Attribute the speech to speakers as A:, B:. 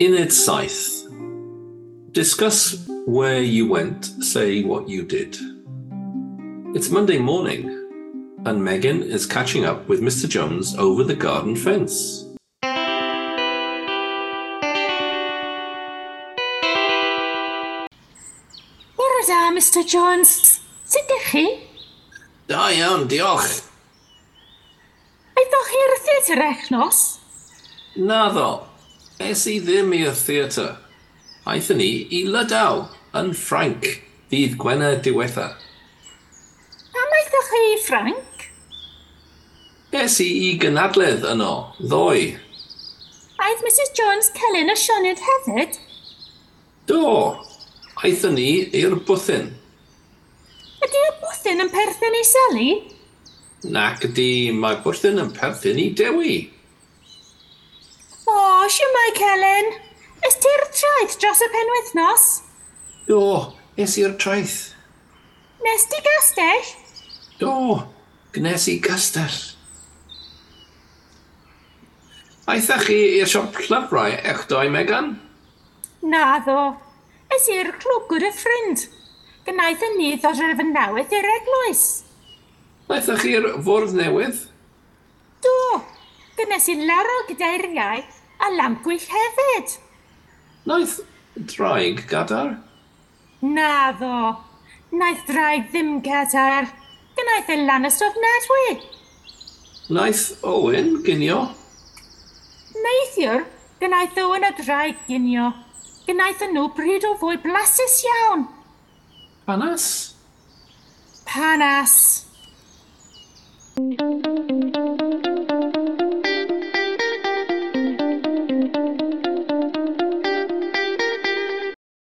A: Uned Saith. Discuss where you went, say what you did. It's Monday morning, and Megan is catching up with Mr. Jones over the garden fence.
B: Bore da, Mr Jones. Sut ydych chi?
A: Da iawn, diolch.
B: Aethoch chi i'r theatr eich nos?
A: Naddo, es i ddim i'r theatr. Aethon ni i Lydaw, yn Ffrainc, ddydd Gwener diwetha.
B: Pam aethoch chi i Ffranc?
A: Es i i gynadledd yno, ddoe.
B: Aeth Mrs Jones Celyn y Sioned hefyd?
A: Do, aethon ni i'r bwthyn.
B: Ydy y bwthyn yn perthyn i Sally?
A: Nac ydi mae bwthyn yn perthyn i dewi.
B: O, siwmai Celyn. Ys ti'r traeth dros y penwythnos?
A: Do, es i'r traeth.
B: Nes di gastell?
A: Do, gnes i gastell. Aethach chi i'r siop llyfrau eich doi, Megan?
B: Na ddo. Ys i'r clwb gwrdd y ffrind. Gnaeth yn ni ddod yr efo newydd i'r eglwys.
A: Aethach chi'r fwrdd newydd?
B: Do. Gynnes i laro gyda'r iau a lamp gwyll hefyd.
A: Naeth draig gadar?
B: Na ddo. Naeth draig ddim gadar. Gnaeth e lan y stof nadwy.
A: Naeth Owen ginio?
B: Neithiwr, gnaeth Owen a draig ginio. Gnaeth nhw bryd o fwy blasus iawn.
A: Panas?
B: Panas.